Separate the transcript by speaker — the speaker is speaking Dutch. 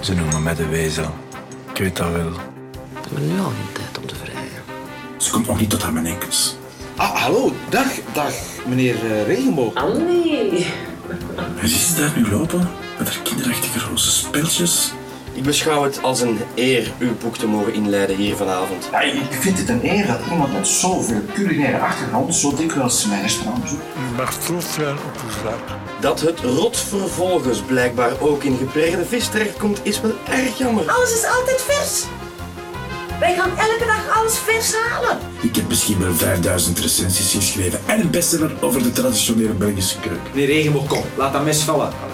Speaker 1: Ze noemen mij de wezel. Ik weet dat wel.
Speaker 2: We hebben nu al geen tijd om te vrijen.
Speaker 3: Ze komt nog niet tot aan mijn enkels.
Speaker 4: Ah, hallo. Dag, dag, meneer eh, Regenboog.
Speaker 2: Andy!
Speaker 3: En zie ze daar nu lopen? Met haar kinderachtige roze speltjes.
Speaker 5: Ik beschouw het als een eer uw boek te mogen inleiden hier vanavond.
Speaker 4: Ik vind het een eer dat iemand met zoveel culinaire achtergrond zo dikwijls mijn restaurant bezoekt.
Speaker 6: Je mag trots zijn op jezelf.
Speaker 5: Dat het rot vervolgens blijkbaar ook in gepreerde vis terechtkomt, is wel erg jammer.
Speaker 7: Alles is altijd vers. Wij gaan elke dag alles vers halen.
Speaker 3: Ik heb misschien wel 5000 recensies geschreven en een bestseller over de traditionele Belgische keuken.
Speaker 4: Meneer Regenboog, kom. Laat dat mes vallen.